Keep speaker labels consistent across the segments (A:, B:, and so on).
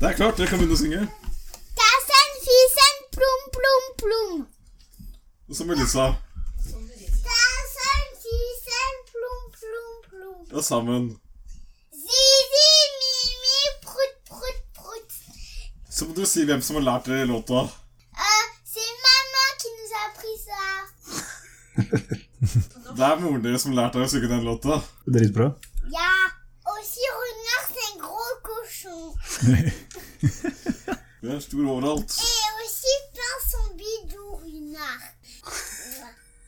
A: Det er klart, dere kan begynne å synge.
B: Tassen, fisen, plom, plom, plom.
A: Som Elisa.
B: Tassen, fisen, plom, plom, plom.
A: Ja, sammen.
B: Zizi, mimi, prut, prut, prut.
A: Så må du si hvem som har lært dere låta.
B: Euh, c'est maman qui nous a appris ça.
A: Det er moren deres som har lært dere å synge den låta.
C: Dritbra.
B: Il y a aussi Renard, c'est un gros cochon.
A: Vi er stor overalt.
B: Et aussi plein son bidou, Renard.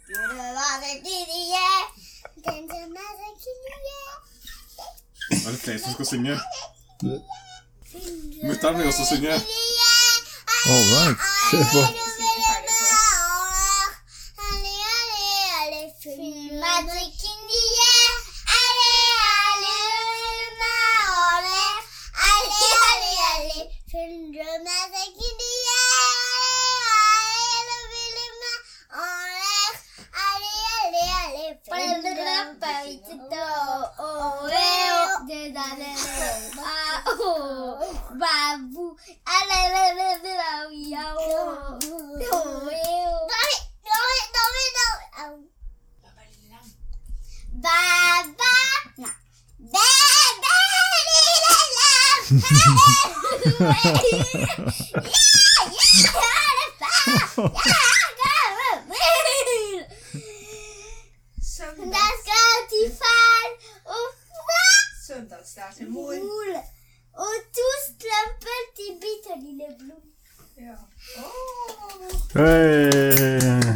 B: Je le vois de Didier, d'un de Didier.
A: Er det flere som skal synge?
B: Mais
A: Mutter'n vil også synge.
C: All right. Kjør på.
B: Babou, allez, allez, allez, allez, yao. Dårlig, dårlig, dårlig, dårlig. Au. Baba Nei. Baba lille lam. Jeg er det far. Jeg er gammel. Da skal til far og far
D: Søndagsstær til mor.
B: og to strømper til bitte lille blom.
D: Ja.
C: Hei.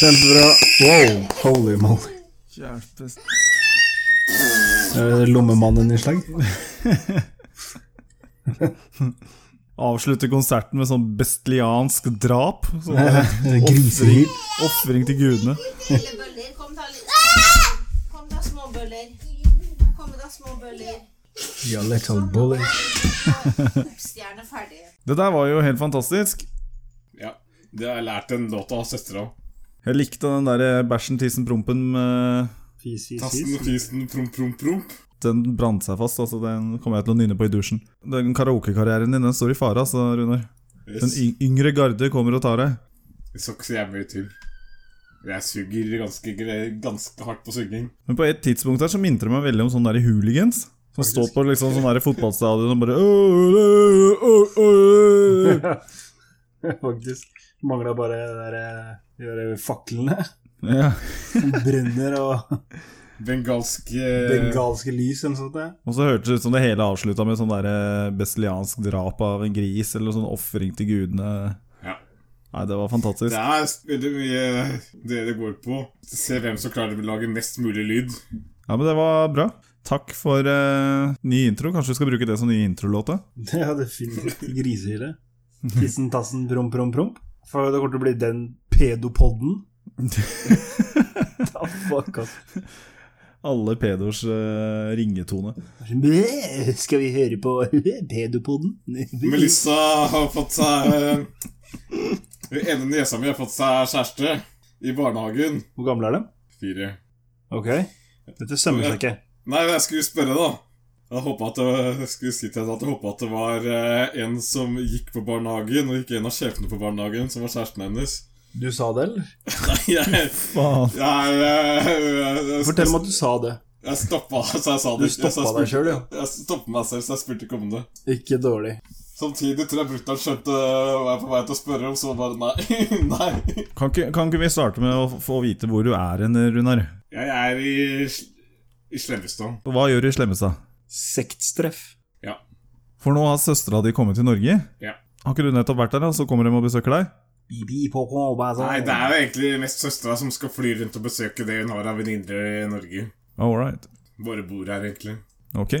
C: Kjempebra. Wow, holy moly.
E: Hjelpes.
C: Er det Eh, Lommemannen-innslag?
E: Avslutte konserten med sånn bestiansk drap. Sånn
C: Grisehyl.
E: Ofring til gudene.
D: Lille bøller, kom da, lille Ah! Kom da, små bøller. Kom da, små bøller.
C: Ja, little bully.
D: Stjerne ferdig.
E: Det der var jo helt fantastisk.
A: Ja, det har jeg lært den låta av søstera.
E: Jeg likte den der bæsjen, tissen, prompen. eh,
C: Fis, fis,
A: Tassen,
C: fis.
A: fisen, promp, promp, promp.
E: Den brant seg fast. altså Den kommer jeg til å nynne på i dusjen. Den Karaokekarrieren din den står i fare, altså, Runar. Den
A: Yes.
E: y- yngre garde kommer og tar deg.
A: Det skal ikke så jævlig mye til. Jeg suger ganske, gre- ganske hardt på synging.
E: Men på et tidspunkt her så minte det meg veldig om sånne der hooligans. Som står på liksom sånn der fotballstadion og bare «Åh, øh, øh, øh, øh».
C: Faktisk. Mangla bare det der, eh, de der faklene
E: Ja.
C: som brenner, og
A: Bengalske
C: bengalske lys eller noe sånt. ja.
E: Og så hørtes det ut som det hele avslutta med sånn der eh, bestialsk drap av en gris, eller sånn ofring til gudene.
A: Ja.
E: Nei, det var fantastisk.
A: Det er veldig mye det det går på. Se hvem som klarer å lage mest mulig lyd.
E: Ja, men det var bra. Takk for eh, ny intro. Kanskje vi skal bruke det som ny introlåte?
C: Det er definitivt grisehyle. Tissen, tassen, prom, prom, prom. For det kommer til å bli den pedopodden. Da Ah, fuck, ass.
E: Alle pedos eh, ringetone.
C: Bæ, Skal vi høre på pedopodden?
A: Melissa har fått seg eh, Den ene niesa mi har fått seg kjæreste i barnehagen.
C: Hvor gamle er de?
A: Fire.
C: Ok. Dette sømmer seg ikke.
A: Nei, men jeg skulle spørre, da. Jeg, håpet at det, jeg skulle si til henne at jeg håpa at det var eh, en som gikk på barnehagen, og ikke en av sjefene på barnehagen, som var kjæresten hennes.
C: Du sa det, eller?
A: Nei, jeg,
E: Faen.
A: jeg, jeg, jeg,
C: Fortell meg at du sa det.
A: Jeg stoppa så jeg sa
C: Du
A: det ikke. så jeg
C: stoppa deg
A: spurte-
C: sjøl, jo.
A: Jeg stoppa meg selv, så jeg spurte ikke om det.
C: Ikke dårlig.
A: Samtidig tror jeg brutter'n skjønte hva jeg var på vei til å spørre om, så han bare nei. nei.
E: Kan, ikke, kan ikke vi starte med å få vite hvor du er hen, Runar?
A: Jeg er i, sl- i Slemmestad.
E: Og Hva gjør du i Slemmestad?
C: Sektstreff.
E: For nå har søstera di kommet til Norge.
A: Ja.
E: Har ikke du nettopp vært der, da? Så kommer de og besøker deg?
C: Bibi på kåba, sa
A: Nei,
C: han.
A: det er jo egentlig mest søstera som skal fly rundt og besøke det hun har av venninner i Norge.
E: All right.
A: Bare bor her, egentlig.
E: Ok.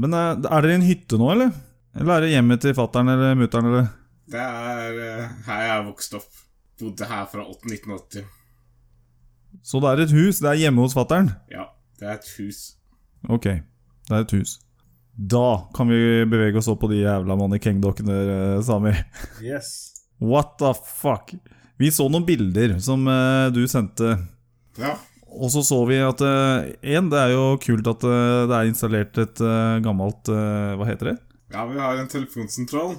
E: Men eh, er dere i en hytte nå, eller? Eller er det hjemmet til fatter'n eller mutter'n, eller?
A: Det er eh, her jeg er vokst opp. Bodde her fra 8 1980.
E: Så det er et hus? Det er hjemme hos fatter'n?
A: Ja, det er et hus.
E: Ok, det er et hus. Da kan vi bevege oss opp på de jævla mannekengdokkene, eh, Sami.
C: Yes.
E: What the fuck? Vi så noen bilder som eh, du sendte,
A: Ja.
E: og så så vi at Én, det er jo kult at eh, det er installert et eh, gammelt eh, Hva heter det?
A: Ja, vi har en telefonsentral.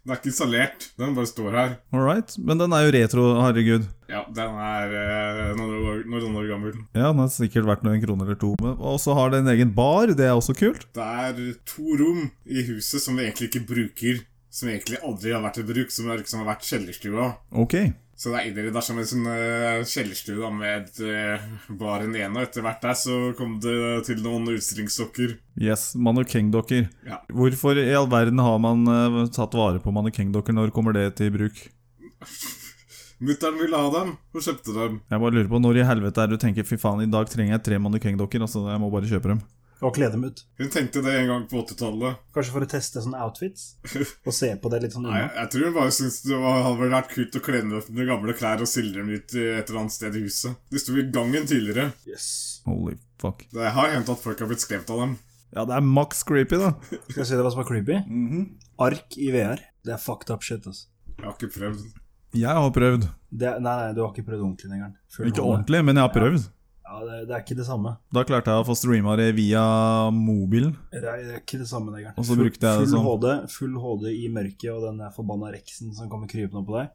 A: Den er ikke installert. Den bare står her.
E: All right. Men den er jo retro, herregud.
A: Ja, den er eh, noen år, noen år gammel.
E: Ja, den har sikkert vært noen kroner eller to. men- Og så har den en egen bar, det er også kult.
A: Det er to rom i huset som vi egentlig ikke bruker. Som egentlig aldri har vært i bruk, som har liksom har vært kjellerstua.
E: Ok.
A: Så det er innreda som en sånn eh, kjellerstue da, med uh, bare den ene, og etter hvert der så kom det til noen utstillingsdokker.
E: Yes, mannekengdokker.
A: Ja.
E: Hvorfor i all verden har man eh, tatt vare på mannekengdokker? Når kommer det til bruk?
A: Mutter'n ville ha dem, og kjøpte dem.
E: Jeg bare lurer på når i helvete er det du tenker fy faen, i dag trenger jeg tre mannekengdokker, altså jeg må bare kjøpe dem.
C: Og kle dem ut.
A: Hun tenkte det en gang på 80-tallet.
C: Kanskje for å teste sånne outfits? Og se på det litt sånn
A: Nei, Jeg,
C: unna?
A: jeg tror hun bare syntes det var, hadde vel vært kult å kle med de gamle klær og stille dem ut i et eller annet sted i huset. De sto i gangen tidligere.
C: Yes.
E: Holy fuck.
A: Det har hendt at folk har blitt skremt av dem.
E: Ja, det er maks creepy, da.
C: Skal jeg si deg hva som er creepy? Mhm. Ark i VR. Det er fucked up shit, altså.
A: Jeg har ikke prøvd.
E: Jeg har prøvd.
C: Det er, nei, nei, du har ikke prøvd ordentlig engang. Før du
E: Ikke
C: hadde-
E: ordentlig, men jeg har prøvd.
C: Ja, det, det er ikke det samme.
E: Da klarte jeg å få streama det via mobilen.
C: Det er, det er ikke det samme, Negeren.
E: Og så brukte jeg det
C: full
E: som-
C: HD, full HD i mørket og den der forbanna reksen som kommer krypende på deg.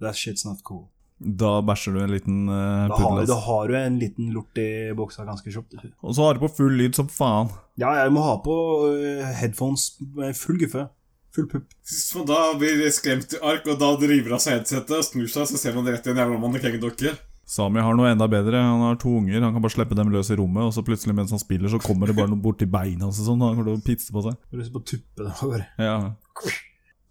C: That shit's not cool.
E: Da bæsjer du en liten uh,
C: Da har, da har du en liten lort i buksa ganske kjapt.
E: Og så har du på full lyd som faen.
C: Ja, jeg må ha på øh, headphones med full guffe. Full pupp.
A: Hvis man da blir skremt i ark, og da driver av seg headsetet og snur seg, så ser man rett i en jævla mannekengdokke.
E: Sami har noe enda bedre. Han har to unger. Han kan bare slippe dem løs i rommet, og så plutselig mens han spiller, så kommer det bare noe borti beina hans og sånn. Han kommer til å pitse på seg.
C: Jeg har lyst på å tuppe det over.
E: Ja.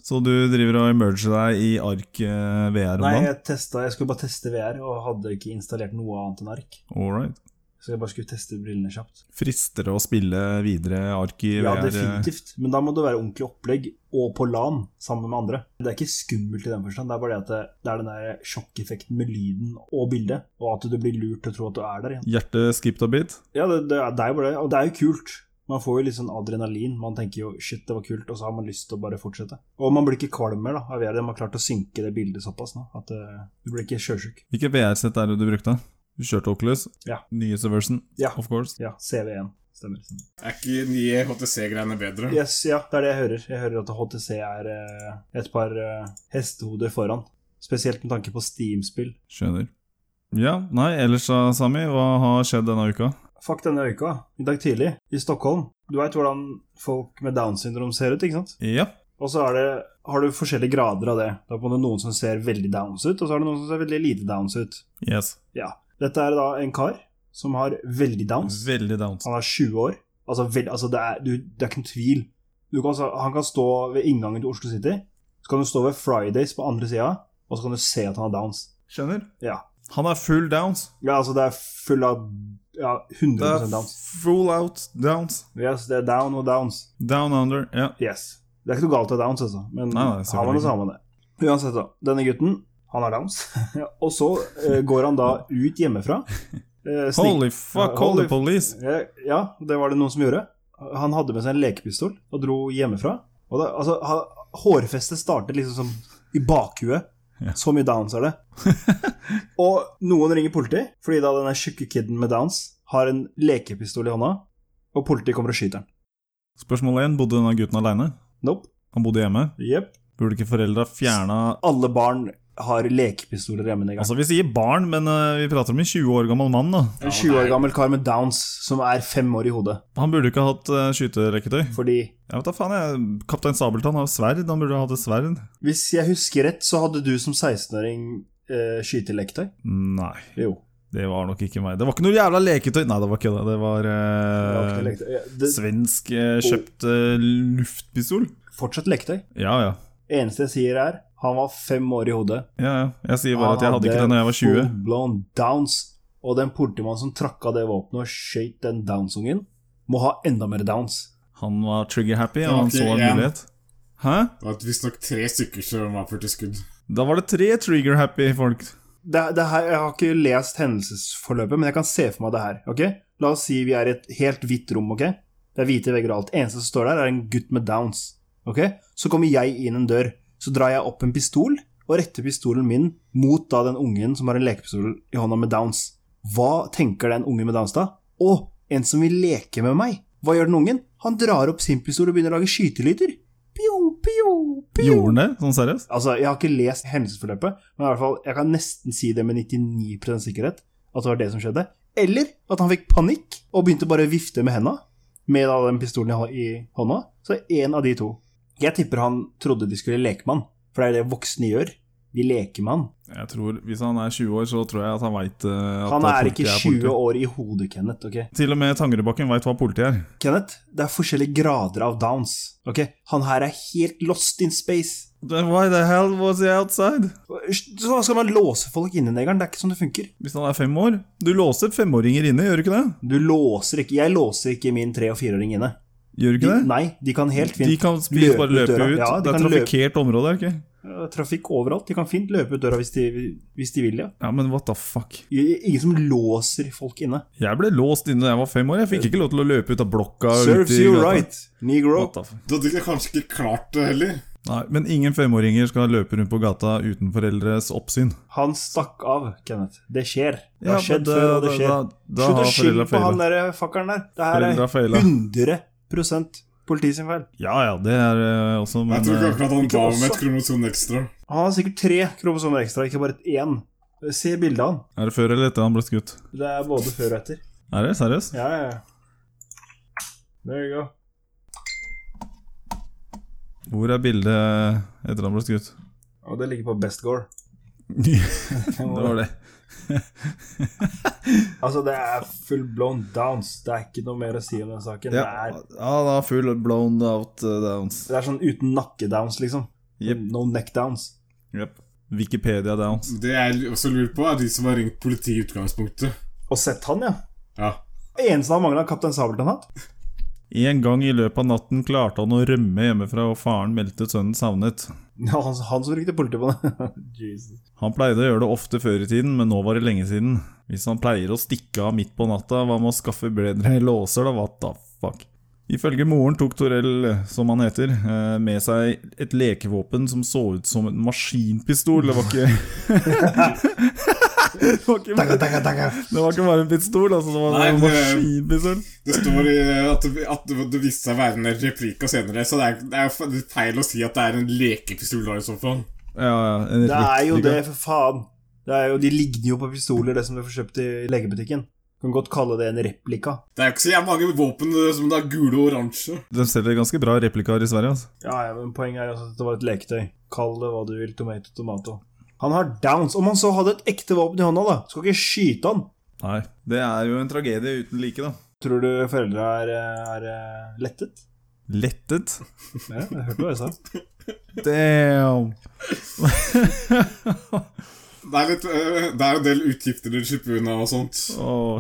E: Så du driver og emerger deg i ark eh, VR om
C: Nei,
E: dagen?
C: jeg, testet, jeg skulle bare teste VR, og hadde ikke installert noe annet enn ark.
E: All right.
C: Så jeg bare skulle teste brillene kjapt.
E: Frister det å spille videre ark i
C: Ja,
E: VR? eh?
C: definitivt. Men da må det være ordentlig opplegg, og på LAN, sammen med andre. Det er ikke skummelt i den forstand, det er bare det at det, det er den der sjokkeffekten med lyden og bildet, og at du blir lurt til å tro at du er der igjen.
E: eh, Hjertet skipped a bit?
C: Ja, det, det, er- det er jo bare det, og det er jo kult. Man får jo litt sånn adrenalin. Man tenker jo 'shit, det var kult', og så har man lyst til å bare fortsette. Og man blir ikke kvalm mer, da. av VR. Man har klart å synke det bildet såpass nå, at eh, du blir ikke sjøsjuk.
E: Hvilket VR-sett er det du brukte? Du kjørte Oculus?
C: Ja.
E: Nyeste version,
C: Ja.
E: of course.
C: Ja, CV1. Stemmer. stemmer.
A: Er ikke nye HTC-greiene bedre?
C: Yes, ja, det er det jeg hører. Jeg hører at HTC er eh, et par eh, hestehoder foran. Spesielt med tanke på Steam-spill.
E: Skjønner. Ja, nei, ellers da, Sami, hva har skjedd denne uka?
C: Fuck denne øyka. I dag tidlig, i Stockholm Du veit hvordan folk med Downs syndrom ser ut, ikke sant?
E: Ja.
C: Og så er det, har du forskjellige grader av det. Det er på en måte noen som ser veldig downs ut, og så er det noen som ser veldig lite downs ut.
E: Yes.
C: Ja. Dette er da en kar som har veldig downs.
E: Veldig downs.
C: Han er 20 år. Altså, vel- altså det, er, du, det er ikke noen tvil. Du kan, altså, han kan stå ved inngangen til Oslo City, så kan du stå ved Fridays på andre sida, og så kan du se at han har downs.
E: Skjønner?
C: Ja.
E: Han er full downs.
C: Ja, altså det er full av ja,
E: Det
C: 100
E: er
C: downs.
E: full out downs.
C: Yes, det er down og downs.
E: Down under, ja.
C: Yes. Det er ikke noe galt med Downs, altså. Men
E: Nei, nei,
C: har man det,
E: selvfølgelig
C: så har man det. Uansett, da. Denne gutten, han har Downs. og så eh, går han da ut hjemmefra. eh, snik-
E: Holy fuck, call the
C: Holy-
E: police!
C: Eh, ja, det var det noen som gjorde. Han hadde med seg en lekepistol og dro hjemmefra. Og da, altså, ha, hårfestet startet liksom som i bakhuet.
E: Ja.
C: Så mye Downs er det. og noen ringer politiet, fordi da denne tjukke kiden med Downs har en lekepistol i hånda, og politiet kommer og skyter han.
E: Spørsmål 1. Bodde denne gutten aleine?
C: Nope.
E: Han bodde hjemme.
C: Jepp.
E: Burde ikke foreldra fjerna
C: alle barn har lekepistoler hjemme en gang.
E: Altså, vi sier barn, men eh, vi prater om en 20 år gammel mann, da.
C: en 20 år gammel kar med downs som er fem år i hodet.
E: Han burde ikke ha hatt uh, skyteleketøy.
C: Fordi
E: Jeg vet da faen, jeg. Kaptein Sabeltann har jo sverd. Han burde ha hatt et sverd.
C: hvis jeg husker rett, så hadde du som 16-åring eh, skyteleketøy.
E: Nei,
C: Jo.
E: det var nok ikke meg. Det var ikke noe jævla leketøy. Nei, det var ikke det. Det var
C: det
E: eh,
C: var ikke leketøy. Ja, Det,
E: svensk eh, kjøpt eh, luftpistol.
C: fortsatt leketøy.
E: Ja, ja.
C: Eneste jeg sier, er han var fem år i hodet.
E: Ja, ja. Jeg sier bare at jeg hadde ikke det da jeg var 20.
C: Blown downs. Og den politimannen som trakk av det våpenet og skjøt den downs-ungen, må ha enda mer downs.
E: Han var trigger-happy,
A: var
E: og han
A: ikke
E: så en
A: en.
E: mulighet. Hæ?
A: Det var visstnok tre stykker som var 40 skudd.
E: Da var det tre trigger-happy folk.
C: det, det her, Jeg har ikke lest hendelsesforløpet, men jeg kan se for meg det her. ok? La oss si vi er i et helt hvitt rom. ok? Det er hvite vegger og alt. Eneste som står der, er en gutt med downs. ok? Så kommer jeg inn en dør. Så drar jeg opp en pistol og retter pistolen min mot da den ungen som har en lekepistol i hånda med downs. Hva tenker den ungen med downs da? Å, en som vil leke med meg. Hva gjør den ungen? Han drar opp sin pistol og begynner å lage skytelyder. Pio, pio.
E: Gjorde han det? Sånn seriøst?
C: Altså, jeg har ikke lest hendelsesforløpet, men i hvert fall, jeg kan nesten si det med 99 sikkerhet, at det var det som skjedde. Eller at han fikk panikk og begynte bare å vifte med henda, med da den pistolen i hå- i hånda. Så en av de to. Jeg tipper han trodde de skulle leke med han, for det er det voksne gjør. De leker med han.
E: Jeg tror, Hvis han er 20 år, så tror jeg at han veit at
C: Han er
E: politiet
C: ikke 20
E: politi.
C: år i hodet, Kenneth. ok?
E: Til og med Tangerudbakken veit hva politi er.
C: Kenneth, det er forskjellige grader av downs. ok? Han her er helt lost in space.
E: Then why the hell was he outside?
C: Så hva skal man låse folk inne, negeren? Det er ikke sånn det funker.
E: Hvis han er fem år? Du låser femåringer inne, gjør du ikke det?
C: Du låser ikke Jeg låser ikke min tre- og fireåring inne.
E: Gjør
C: De,
E: du ikke det?
C: nei, de kan helt fint
E: De kan spise, bare løpe ut.
C: døra. Ja, de
E: det er
C: kan løpe,
E: trafikkert område, er det ikke?
C: Ja, trafikk overalt. De kan fint løpe ut døra hvis de, hvis de vil, ja.
E: Ja, men what the fuck?
C: Ingen som låser folk inne.
E: Jeg ble låst inne da jeg var fem år. Jeg fikk ikke lov til å løpe ut av blokka. og ut
C: Serves
E: i
C: you
E: gata.
C: right, negro.
E: What the fuck?
A: Du hadde ikke- kanskje ikke klart det heller.
E: Nei, men ingen femåringer skal løpe rundt på gata uten foreldres oppsyn.
C: Han stakk av, Kenneth. Det skjer. Det har
E: men
C: skjedd
E: da-
C: før, og det
E: da-
C: skjer.
E: Da, da
C: Slutt å
E: har
C: skylde
E: foreldra
C: på han
E: feila.
C: der fakkeren der. Det
E: Foreldra
C: her
E: feila.
C: er 100 politi sin feil.
E: Ja ja, det er eh, også
A: Jeg
E: Men
A: tror ikke
E: eh,
A: akkurat han
C: ikke
A: ba om et
C: også.
A: kromosom ekstra.
C: Han har sikkert tre kromosomer ekstra, ikke bare én. Se bildet av han.
E: er det før eller etter han ble skutt?
C: Det er både før og etter.
E: Er det seriøst?
C: Ja, ja, ja. There you go.
E: Hvor er bildet eh, etter han ble skutt?
C: Og det ligger på best gore.
E: det var det.
C: Altså, det er full blown downs. Det er ikke noe mer å si om den saken.
E: Ja,
C: Det, er,
E: ja da, full blown out eh, downs.
C: det er sånn uten nakkedowns, liksom.
E: Jep.
C: No neck downs.
E: Jep. Wikipedia downs.
A: Det jeg også lurer på, er de som har ringt politiet i utgangspunktet.
C: Og sett han, ja.
A: Ja.
C: Eneste han mangla, Kaptein Sabeltann-hatt.
E: En gang i løpet av natten klarte han å rømme hjemmefra, og faren meldte sønnen savnet.
C: Ja, han, han som brukte politi på det. Jesus.
E: Han pleide å gjøre det ofte før i tiden, men nå var det lenge siden. Hvis han pleier å stikke av midt på natta, hva med å skaffe bedre låser, da? What the fuck? Ifølge moren tok Torell, som han heter, eh, med seg et lekevåpen som så ut som en maskinpistol. Det var ikke Det var ikke
C: Dagga,
E: bare,
C: dagga, dagga.
E: det var ikke bare en pistol, altså. Det var
A: Nei,
E: en
A: det-
E: maskinpistol.
A: Det står i at, det- at det viste seg å være en replikk av senere, så det er, det er fe- feil å si at det er en lekepistol da, i så fall.
E: Ja, ja, en
C: Det er jo
E: replikkbygger.
C: det, for faen. Det er jo, de ligner jo på pistoler, det som du får kjøpt i legebutikken. Kan godt kalle det en replika.
A: Det er jo ikke så jævlig mange våpen eh, som det er gule og oransje.
E: De selger ganske bra replikaer i Sverige, altså.
C: Ja, ja, men Poenget er altså at det var et leketøy. Kall det hva du vil. Tomato, tomato. Han har downs. Om han så hadde et ekte våpen i hånda, da, skal ikke skyte han.
E: Nei. Det er jo en tragedie uten like, da.
C: Tror du foreldra er, er eh, lettet?
E: Lettet.
C: Ja, jeg hørte hva jeg sa.
E: Damn!
A: Det er, litt, eh, det er en del utgifter dere slipper unna og sånt.
E: Oh,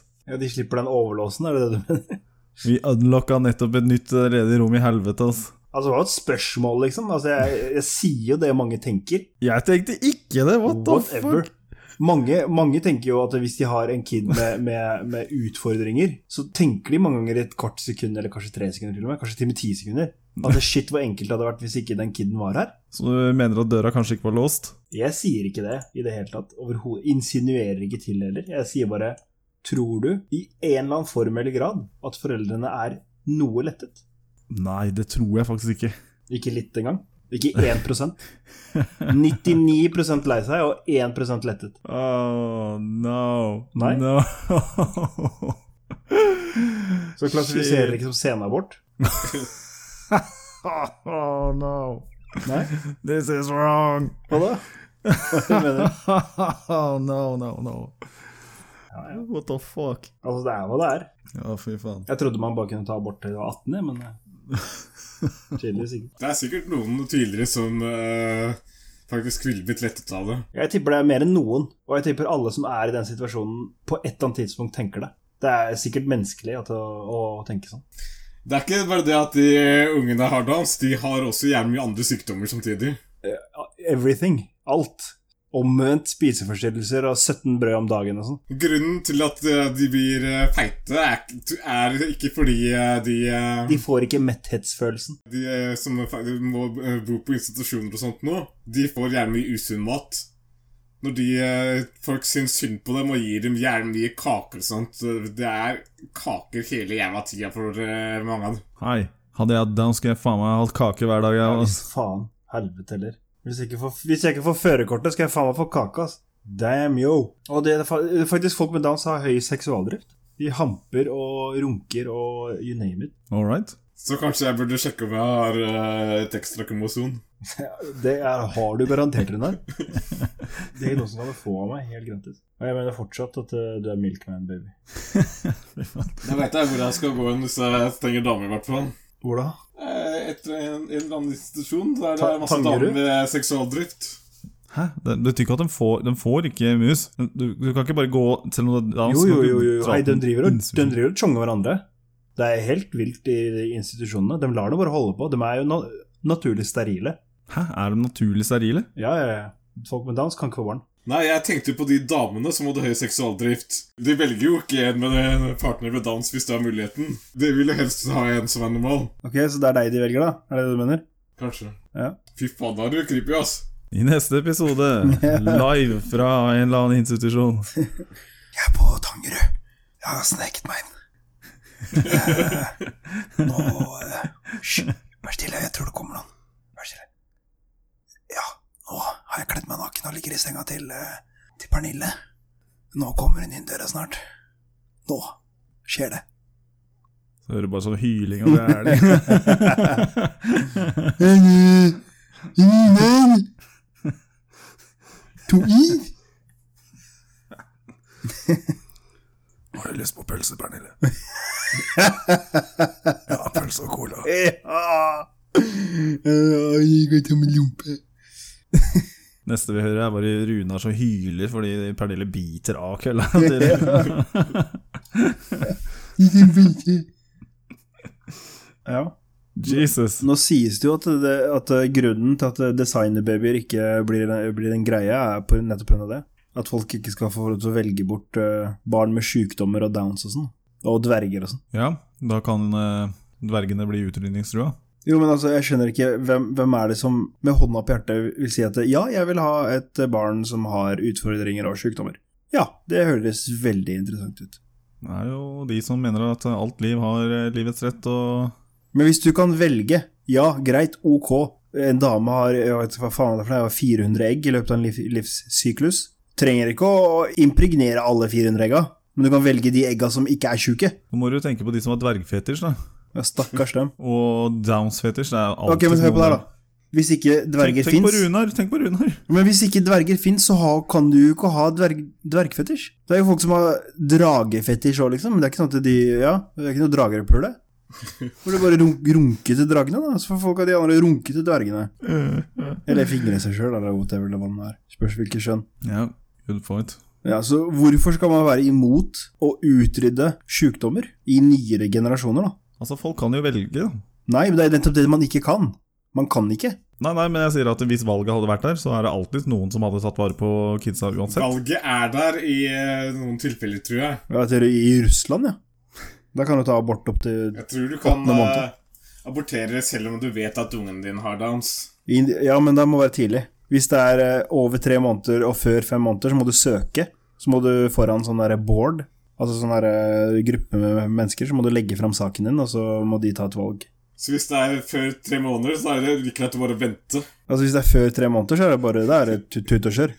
C: Ja, De slipper den overlåsen, er det det du mener?
E: Vi unlocka nettopp et nytt ledig rom i helvete, ass.
C: Altså, Det var jo et spørsmål, liksom. Altså, Jeg, jeg sier jo det mange tenker.
E: Jeg tenkte ikke det! What the
C: Whatever.
E: fuck?
C: Mange, mange tenker jo at hvis de har en kid med, med, med utfordringer, så tenker de mange ganger i et kvart sekund, eller kanskje tre sekunder til og med, kanskje til og med ti sekunder, at det shit hvor enkelt det hadde vært hvis ikke den kiden var her.
E: Så du mener at døra kanskje ikke var låst?
C: Jeg sier ikke det i det hele tatt. Overhodet. Insinuerer ikke til heller. Jeg sier bare Tror du, i en eller annen form eller grad, at foreldrene er noe lettet?
E: Nei, det tror jeg faktisk ikke.
C: Ikke litt engang. Ikke 1 99 lei seg og 1 lettet.
E: Oh, no.
C: Nei.
E: No.
C: Så klassifiserer ikke som senabort.
E: Oh, no.
C: Nei?
E: This is wrong.
C: Hva da? Hva mener du?
E: Oh, no, no, no. What the fuck?
C: Altså, det er hva det er.
E: Ja, fy faen.
C: Jeg trodde man bare kunne ta abort til du var 18, jeg, men eh, tydeligvis ikke.
A: Det er sikkert noen tidligere som eh, faktisk ville blitt lettet av det.
C: Jeg tipper det er mer enn noen, og jeg tipper alle som er i den situasjonen, på et eller annet tidspunkt tenker det. Det er sikkert menneskelig at, å, å tenke sånn.
A: Det er ikke bare det at de ungene har dans, de har også gjerne mye andre sykdommer samtidig.
C: Everything. Alt. Omvendt spiseforstyrrelser og 17 brød om dagen og sånn.
A: Grunnen til at eh, de blir eh, feite, er, ikke- er ikke fordi eh, de, eh,
C: De får ikke metthetsfølelsen.
A: de eh, som er fe- de må eh, bo på institusjoner og sånt nå, de får gjerne mye usunn mat. Når de, eh, folk syns synd på dem og gir dem gjerne mye kaker og sånt, eh, det er kaker hele jævla tida for eh, mange av dem.
E: Hei, Hadde jeg hatt down, skulle jeg faen meg hatt kake hver dag. Jeg, ass.
C: Hvis faen. Helvete heller. Hvis, jeg ikke får- hvis jeg ikke får førerkortet, skal jeg faen meg få kake, ass. Damn, yo. Og det er fa- det er faktisk folk med Downs har høy seksualdrift. De hamper og runker og you name it.
E: All right.
A: Så kanskje jeg burde sjekke om jeg har eh, et ekstra kromosom.
C: Det er, har du garantert, Runar. Det er noe som kan du få av meg helt gratis. Og jeg mener fortsatt at eh, du er Milkman, baby.
A: Da veit jeg hvor jeg skal gå hen hvis jeg trenger damer, i hvert fall.
C: Hvor da?
A: Eh, Etter en, en eller annen institusjon der det
C: Ta-
A: er masse
C: Tangerud?
A: damer med seksualdrift.
E: Hæ? Det det betyr ikke at de får, de får ikke mus. Du, du kan ikke bare gå til noen down
C: Jo,
E: så
C: jo,
E: kan du
C: jo. jo.
E: dra
C: Nei, de
E: til-
C: driver og de driver og tjonger hverandre. Det er helt vilt i de institusjonene. De lar det bare holde på. De er jo na naturlig sterile.
E: Hæ? Er de naturlig sterile?
C: Ja, ja, ja. Folk med dans kan ikke få barn.
A: Nei, jeg tenkte jo på de damene som hadde høy seksualdrift. De velger jo ikke en med en partner med dans hvis de har muligheten. De vil jo helst ha en som er normal.
C: Ok, Så det er deg de velger, da? Er det det du mener?
A: Kanskje.
C: Ja.
A: Fy faen, da er du creepy, ass.
E: I neste episode, live fra en eller annen institusjon.
C: Jeg er på Tangerud. Jeg har sneket meg inn. Eh, nå eh, Hysj, vær stille. Jeg tror det kommer noen. Vær stille. Ja, nå har jeg kledd meg naken og ligger i senga til, eh, til Pernille. Nå kommer hun inn døra snart. Nå skjer det.
E: Så hører du bare sånn hyling, og det er det.
F: Har du lyst på pølse, Pernille? ja, pølse og cola.
E: Neste vi hører, er bare Runar som hyler fordi Pernille biter av kølla. til-
C: Ja.
E: Jesus.
C: Nå sies det jo at, det, at grunnen til at designerbabyer ikke blir, blir en greie, er på nettopp pga. det. At folk ikke skal få lov til å velge bort eh, barn med sykdommer og downs og sånn. Og dverger og sånn.
E: Ja, da kan eh, dvergene bli utrydningstrua.
C: Jo, men altså, jeg skjønner ikke hvem, hvem er det som med hånda på hjertet vil si at ja, jeg vil ha et barn som har utfordringer og sykdommer. Ja, det høres veldig interessant ut.
E: Det er jo de som mener at alt liv har eh, livets rett, og
C: Men hvis du kan velge, ja, greit, ok. En dame har jeg vet ikke hva faen det er for noe, 400 egg i løpet av en liv, livssyklus. Trenger ikke å impregnere alle 400 egga, men du kan velge de egga som ikke er sjuke.
E: Nå må du tenke på de som har dvergfetisj, da.
C: Ja, stakkars dem.
E: Og downs-fetisj. Det er alltid
C: Ok, men hør på det her, da. Hvis ikke
E: Tenk,
C: dverger
E: tenk på
C: fins
E: Runar! Tenk på Runar!
C: Men hvis ikke dverger fins, så ha, kan du jo ikke ha dverg, dvergfetisj. Det er jo folk som har dragefetisj òg, liksom. Men det er ikke sånn at de Ja, det er ikke noe dragerpule. Hvor det bare runk, runke til dragene, da. Så får folk av de andre runke til dvergene. Eller fingre seg sjøl, eller whatever det vannet er. Spørs hvilket skjønn.
E: Ja, good point.
C: Ja, så hvorfor skal man være imot å utrydde sjukdommer i nyere generasjoner, da?
E: Altså, folk kan jo velge, da.
C: Nei, men det er nettopp det man ikke kan. Man kan ikke.
E: Nei, nei, men jeg sier at hvis valget hadde vært der, så er det alltid noen som hadde tatt vare på kidsa uansett.
A: Valget er der i eh, noen tilfeller, tror jeg.
C: Ja, det er I Russland, ja. Da kan du ta abort opp til
A: Jeg tror du kan
C: Åttende måned.
A: eh, abortere selv om du vet at ungen din har downs.
C: Indi- Ja, men det må være tidlig. Hvis det er eh, over tre måneder og før fem måneder, så må du søke. Så må du foran sånn derre board, altså sånn derre gruppe med mennesker, så må du legge fram saken din, og så må de ta et valg.
A: Så hvis det er før tre måneder, så er det like greit å bare vente.
C: Altså hvis det er før tre måneder, så er det bare det er det tut- tut og kjør.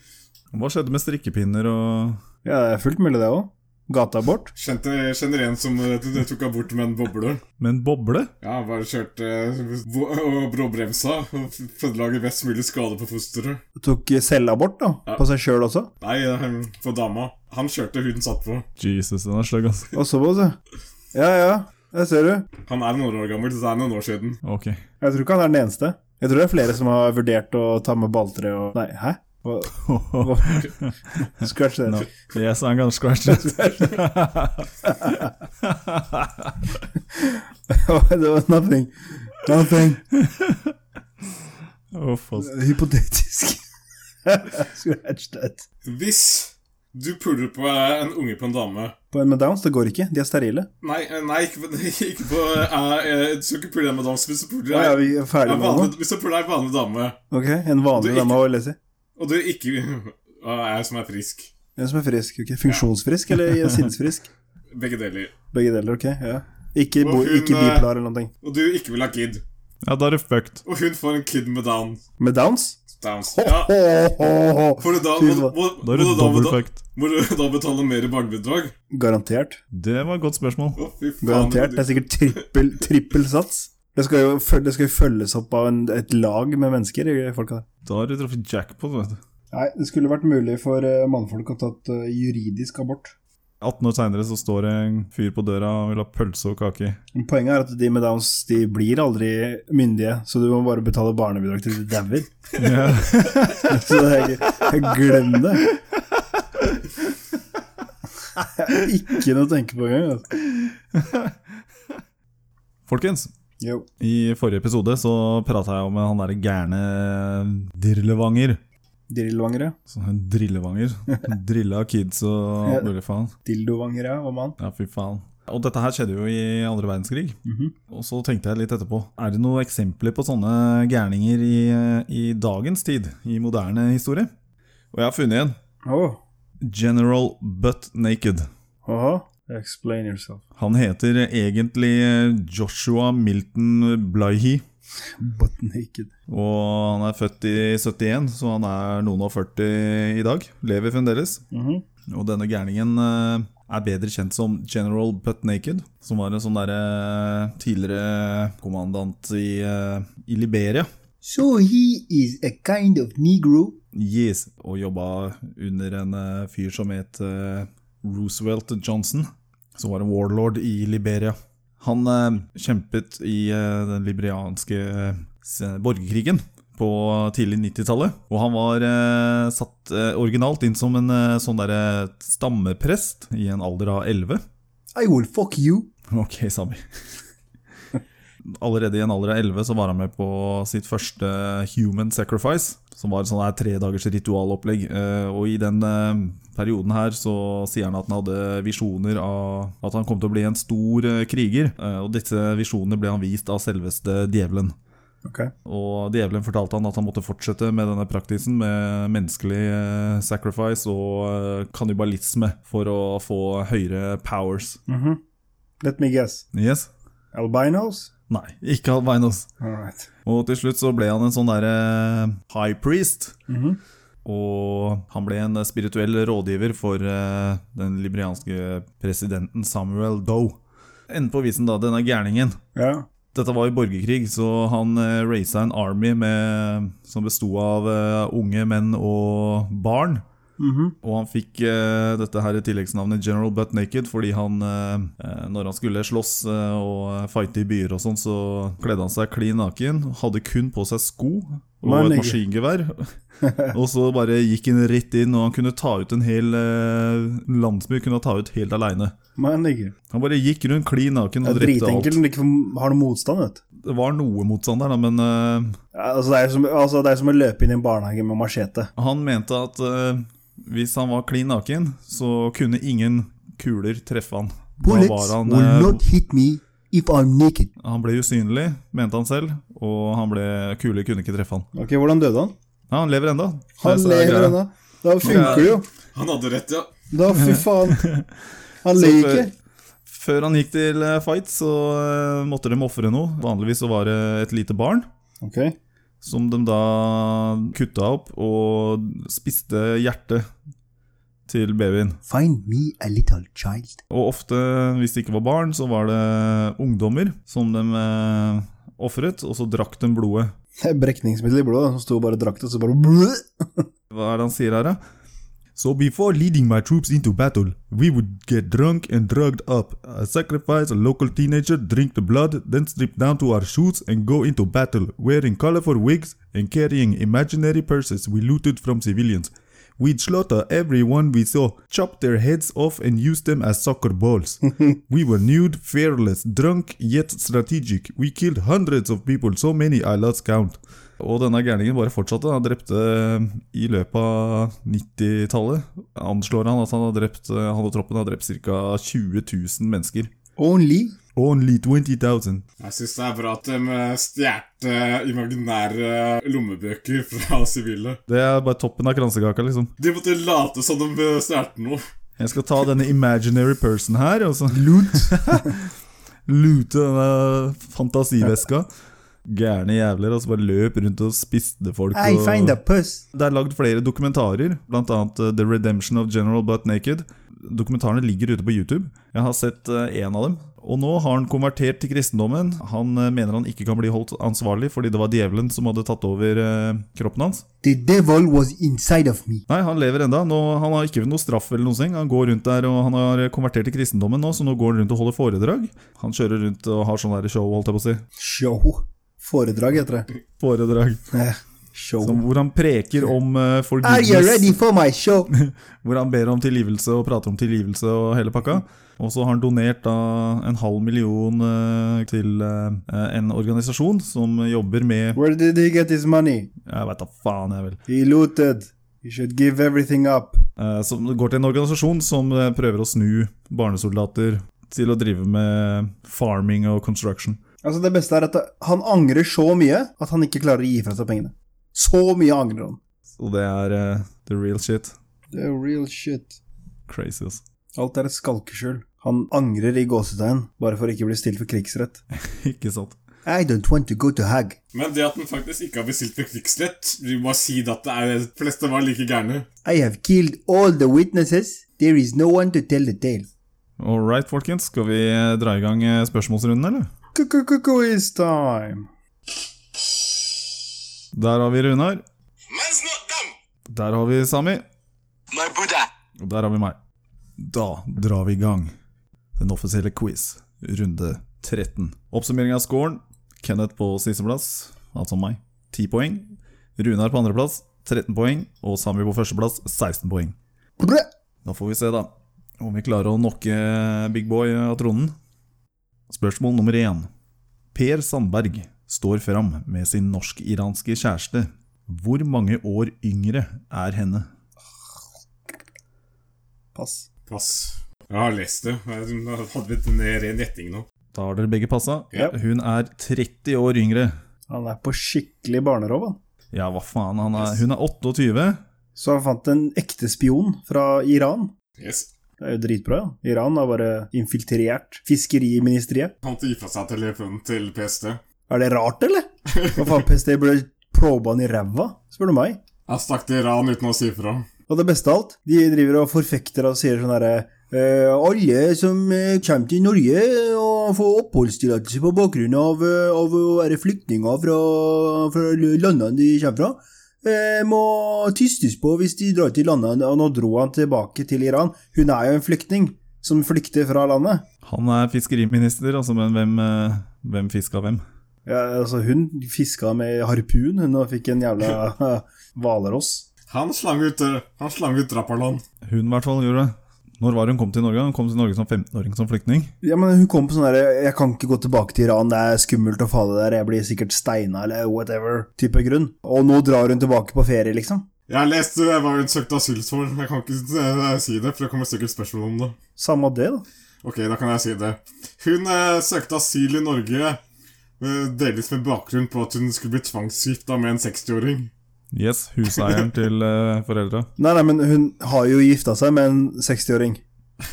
E: Hva skjedde med strikkepinner og
C: Ja, det er fullt mulig det òg. Gateabort.
A: Kjente, kjenner en som eh, t- tok abort med en boble.
E: Med en boble?
A: Ja, bare kjørte eh, vo- og bråbremsa og f- pålage mest mulig skade på fosteret.
C: Tok eh, selvabort, da.
A: Ja.
C: På seg sjøl også.
A: Nei, eh, på dama. Han kjørte, hun satt på.
E: Jesus, den er stygg, altså.
C: Og så på seg. Ja, ja. Det ser du.
A: Han er noen år gammel, så det er noen år siden.
E: Ok.
C: Jeg tror ikke han er den eneste. Jeg tror det er flere som har vurdert å ta med balltre og Nei, hæ? Hva- Scratch det.
E: no. Yes, I'm gonna scratch it.
C: det var nothing. Nothing.
E: Å, faen.
C: Hypotetisk. Scratch that.
A: Hvis du puler på eh, en unge på en dame
C: På en med Downs, det går ikke. De er sterile.
A: Nei, eh, nei ikke, på- ikke på eh, eh, Du skal ikke pule en med dams hvis du puler
C: Å ja, vi er
A: en
C: ferdige med det nå.
A: vanlig, hvis du puler en vanlig dame,
C: Ok,
A: Du
C: en vanlig
A: ikke-
C: dame å lese.
A: og du ikke er jeg som er frisk
C: En som er frisk. ok Funksjonsfrisk eller sinnsfrisk?
A: Begge deler.
C: Begge deler, ok. ja Ikke,
A: Og
C: bo,
A: hun,
C: ikke
A: eh,
C: bipolar eller noe.
A: Og du ikke vil ha kid.
E: Ja, da er det fucked.
A: Og hun får en kid med down.
C: Med downs?
A: Downs. Ja.
C: Ho, ho, ho.
A: For da,
C: Fy
A: må, du-
C: faen.
A: må,
E: Da
A: må,
E: er det
A: du da,
E: dobbelt
A: beta-
E: fucked.
A: må du da betale mer i barnebidrag?
C: Garantert.
E: Det var et godt spørsmål.
A: Å, fy faen.
C: Garantert. Det
A: det
C: er sikkert trippel, trippel sats. Det skal jo føl- det skal jo følges opp av en, et lag med mennesker. de Folka der.
E: Da har du truffet jackpot, vet du.
C: Nei, det skulle vært mulig for eh, mannfolk å ha tatt eh, juridisk abort.
E: 18 år seinere så står det en fyr på døra og vil ha pølse og kake.
C: Men Poenget er at de med downs de blir aldri myndige, så du må bare betale barnebidrag til de dauer.
E: Ja.
C: Så det er ikke Glem det. Ikke noe å tenke på engang. Altså.
E: Folkens,
C: Jo.
E: i forrige episode så prata jeg om han derre gærne Drillevanger.
C: Drillvangere.
E: Sånn Drillevanger. Drilla kids og alt mulig faen.
C: Dildovangere, hva man?
E: Ja, fy faen. Og dette her skjedde jo i andre verdenskrig.
C: Mhm.
E: Og så tenkte jeg litt etterpå. Er det noen eksempler på sånne gærninger i, i dagens tid? I moderne historie? Og jeg har funnet en.
C: Åh.
E: General Butt Naked.
C: Aha. Explain yourself.
E: Han heter egentlig Joshua Milton Blighy.
C: Butt naked.
E: Og han er født i 71, så han er noen og 40 i dag. Lever fremdeles.
C: Mhm.
E: Og denne gærningen eh, er bedre kjent som General Butt Naked, som var en sånn derre tidligere kommandant i, eh, i Liberia.
C: So he is a kind of negro.
E: Yes, og jobba under en eh, fyr som het eh, Roosevelt Johnson, som var en warlord i Liberia. Han eh, kjempet i eh, den liberianske eh, s- borgerkrigen på tidlig 90-tallet, og han var eh, satt eh, originalt inn som en eh, sånn derre stammeprest i en alder av 11.
C: I will fuck you.
E: Ok, Sami. Allerede i en alder av 11 så var han med på sitt første Human Sacrifice, som var et sånn her tredagers ritualopplegg. Eh, Og i den eh, perioden her så sier han at han hadde visjoner av at han kom til å bli en stor eh, kriger, Eh, og disse visjonene ble han vist av selveste djevelen.
C: Ok.
E: Og djevelen fortalte han at han måtte fortsette med denne praktisen med menneskelig eh, sacrifice og eh, kannibalisme for å få høyere powers.
C: Mm-hmm. Let me guess.
E: Yes?
C: Albinos?
E: Nei, ikke albinos.
C: All right.
E: Og til slutt så ble han en sånn derre high priest.
C: Mhm.
E: Og han ble en eh, spirituell rådgiver for eh, den liberianske presidenten Samuel Doe. Enden på visen, da, denne gærningen.
C: Ja.
E: Dette var i borgerkrig, så han eh, raisa en army med, som besto av eh, unge menn og barn.
C: Mhm.
E: Og han fikk eh, dette her tilleggsnavnet General Butt Naked fordi han, eh, eh, når han skulle slåss eh, og fighte i byer og sånn, så kledde han seg klin naken, hadde kun på seg sko og
C: Mann,
E: et
C: ikke.
E: maskingevær. og så bare gikk han rett inn, og han kunne ta ut en hel eh, landsby kunne han ta ut helt aleine.
C: Man ligger.
E: Han bare gikk rundt klin naken
C: Det
E: og
C: er
E: drepte alt.
C: dritenkelt når du ikke har noe motstand, vet du.
E: Det var noe motstander, da, men eh,
C: Ja, Altså, det, er som, altså, det er som å løpe inn i en barnehage med machete.
E: Han mente at eh, hvis han var klin naken, så kunne ingen kuler treffe han. Da var han, eh,
C: hit me if I'm naked.
E: han ble usynlig, mente han selv, og han ble, kuler kunne ikke treffe han.
C: Ok, Hvordan døde han?
E: Ja, han lever ennå.
C: Han lever ennå. Da funker det jo.
A: Han hadde rett, ja.
C: Da, fy faen. Han løy ikke.
E: Før han gikk til eh, fight, så eh, måtte de ofre noe. Vanligvis så var det et lite barn.
C: Ok,
E: Som de da kutta opp og spiste hjertet til babyen.
C: Find me a little child.
E: Og ofte, hvis det ikke var barn, så var det ungdommer som de eh, ofret, og så drakk de blodet.
C: Det er brekningsmiddel i blodet som sto og bare drakk det, så bare blø.
E: Hva er det han sier her, da? So before leading my troops into battle, we would get drunk and drugged up, I sacrifice a local teenager, drink the blood, then strip down to our shoes and go into battle, wearing colorful wigs and carrying imaginary purses we looted from civilians. We'd slaughter everyone we saw, chop their heads off and use them as soccer balls. we were nude, fearless, drunk, yet strategic. We killed hundreds of people, so many I lost count. Og denne gærningen bare fortsatte. Han drepte eh, i løpet av 90-tallet. Anslår han at han, har drept, eh, han og troppen har drept ca. 20 000 mennesker.
C: Only.
E: Only 20 000.
A: Jeg syns det er bra at de stjal imaginære eh, lommebøker fra sivile.
E: Det er bare toppen av kransekaka, liksom.
A: De måtte late som de eh, stjal noe.
E: altså. Jeg skal ta denne imaginary person her, og så
C: Loot.
E: Lute denne fantasiveska. Gærne jævler, og så bare løp rundt og spiste folk.
A: Oh.
E: og-
C: puss.
E: det er lagd flere dokumentarer, bl.a. The Redemption of General Butt Naked. Dokumentarene ligger ute på YouTube. Jeg har sett én av dem. Og nå har han konvertert til kristendommen. Han eh, mener han ikke kan bli holdt ansvarlig fordi det var djevelen som hadde tatt over eh, kroppen hans.
C: The devil was inside of me.
E: Nei, han lever enda. Nå, han har ikke noe straff eller noen ting. Han går rundt der, og han har eh, konvertert til kristendommen nå, så nå går han rundt og holder foredrag. Han kjører rundt og har sånn der show, holdt jeg på å si.
C: Show. Foredrag, heter det.
E: Foredrag.
C: Eh, Show.
E: Som, hvor han preker om uh,
C: Are you ready for my show?
E: Hvor han ber om tilgivelse og prater om tilgivelse og hele pakka. Og så har han donert da en halv million eh, til eh, en organisasjon som jobber med
C: Where did he get his money?
E: Jeg veit da faen, jeg vel.
C: He looted. He should give everything up.
E: Eh, Som går til en organisasjon som eh, prøver å snu barnesoldater til å drive med farming og construction.
C: Altså Det beste er at han angrer så mye at han ikke klarer å gi fra seg pengene. Så mye angrer han.
E: Og det er eh, the real shit.
C: Det er real shit.
E: Crazy, altså.
C: Alt er et skalkeskjul. Han angrer i gåsetegn, bare for å ikke bli stilt for krigsrett.
E: Ikke sant.
C: I don't want to go to Hag.
A: Men det at den faktisk ikke har bestilt ved krigsrett, vi må si det at det er de fleste var like gærne.
C: I have killed all the witnesses. There is no one to tell the tale.
E: All right, folkens. Skal vi eh, dra i gang eh, spørsmålsrunden, eller?
C: Quiz time.
E: Der har vi Runar.
G: Man's not dumb.
E: Der har vi Sami.
G: My Buddha.
E: Og der har vi meg. Da drar vi i gang den offisielle quiz, runde 13. Oppsummering av scoren. Kenneth på sisteplass, altså meg, 10 poeng. Runar på andreplass, 13 poeng. Og Sami på førsteplass, 16 poeng.
C: Brø!
E: Da får vi se, da, om vi klarer å nokke Big Boy av tronen. Spørsmål nummer én. Per Sandberg står fram med sin norsk-iranske kjæreste. Hvor mange år yngre er henne?
C: Pass.
A: Pass. Jeg har lest det. Jeg hadde blitt en ren gjetting nå.
E: Da har dere begge passa.
C: Ja.
E: Hun er 30 år yngre.
C: Han er på skikkelig barnerov, han.
E: Ja, hva faen. Han er, hun er 28.
C: Så han fant en ekte spion fra Iran.
A: Yes.
C: Det er jo dritbra, ja. Iran har bare infiltrert fiskeriministeriet.
A: Han måtte gi fra seg telefonen til PST.
C: Er det rart, eller? Hva faen, PST ble proba han i ræva, spør du meg.
A: Han stakk til Iran uten å si fra.
C: Og det beste av alt, de driver og forfekter og sier sånn herre eh, alle som eh, kommer til Norge og får oppholdstillatelse på bakgrunn av, eh, av å være flyktninger fra, fra landene de kommer fra, eh, må tystes på hvis de drar til landene. Og nå dro han tilbake til Iran. Hun er jo en flyktning som flykter fra landet.
E: Han er fiskeriminister, altså, men hvem, eh, hvem fiska hvem?
C: Ja, altså, hun fiska med harpun, hun og fikk en jævla hvalross.
A: Han slang ut, eh, han slang ut Rappaland.
E: Hun i hvert fall gjorde det. Når var hun kom til Norge? Hun kom til Norge som 15-åring som flyktning.
C: Ja, men hun kom på sånn derre 'jeg kan ikke gå tilbake til Iran, det er skummelt og farlig der, jeg blir sikkert steina', eller whatever-type grunn. Og nå drar hun tilbake på ferie, liksom.
A: Jeg har lest det, hva hun søkte asyl for. Jeg kan ikke eh, si det, for det kommer sikkert spørsmål om det.
C: Samme det, da.
A: Ok, da kan jeg si det. Hun eh, søkte asyl i Norge eh, delvis med bakgrunn på at hun skulle bli tvangsgifta med en 60-åring.
E: Yes, huseieren til eh, foreldra.
C: Nei, nei, men hun har jo gifta seg med en 60-åring.